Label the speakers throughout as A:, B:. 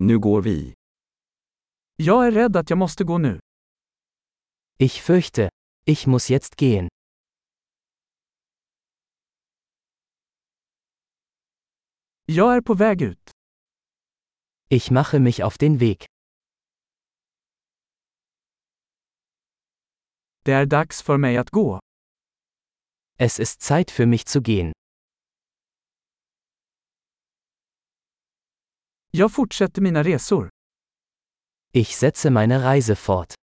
A: Nu går vi.
B: Jag är rädd att jag måste gå nu.
C: Ich fürchte, ich muss jetzt gehen.
B: Jag är på väg ut.
C: Ich mache mich auf den Weg.
B: Det är dags för mig att gå.
C: Es ist Zeit für mich zu gehen.
B: Jag fortsätter mina resor.
C: Ich setze meine Reise fort.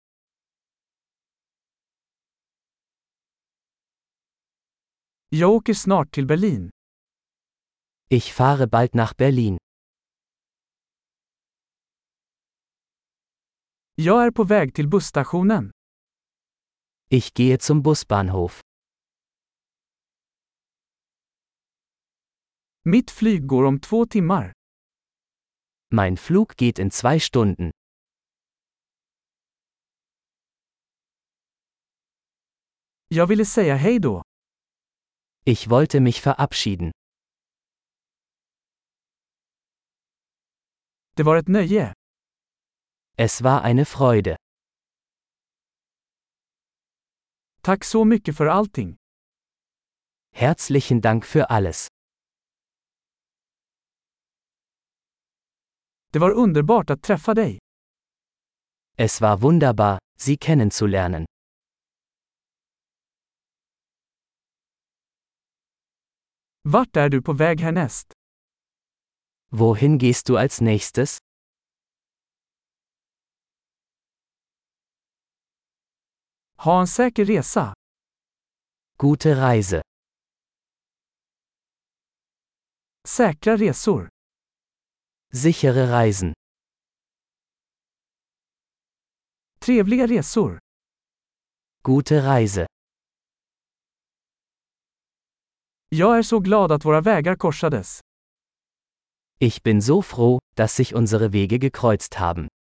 B: Jag åker snart till Berlin.
C: Ich fahre bald nach Berlin.
B: Jag är på väg till busstationen.
C: Ich gehe zum Busbahnhof.
B: Mitt flyg går om två timmar.
C: Mein Flug geht in zwei Stunden.
B: Jag ville säga hej då.
C: Ich wollte mich verabschieden.
B: Det var ett nöje.
C: Es war eine Freude.
B: Tack så mycket för allting.
C: Herzlichen Dank für alles.
B: Det var underbart att träffa dig.
C: Es war wunderbar, Sie kennenzulernen.
B: Vart är du på väg härnäst?
C: Wohin gehst du als nächstes?
B: Ha en säker resa.
C: Gute Reise.
B: Säkra resor.
C: Sichere Reisen.
B: Trevliga resor.
C: Gute Reise.
B: Jag är så glad att våra vägar korsades.
C: Ich bin so froh, dass sich unsere Wege gekreuzt haben.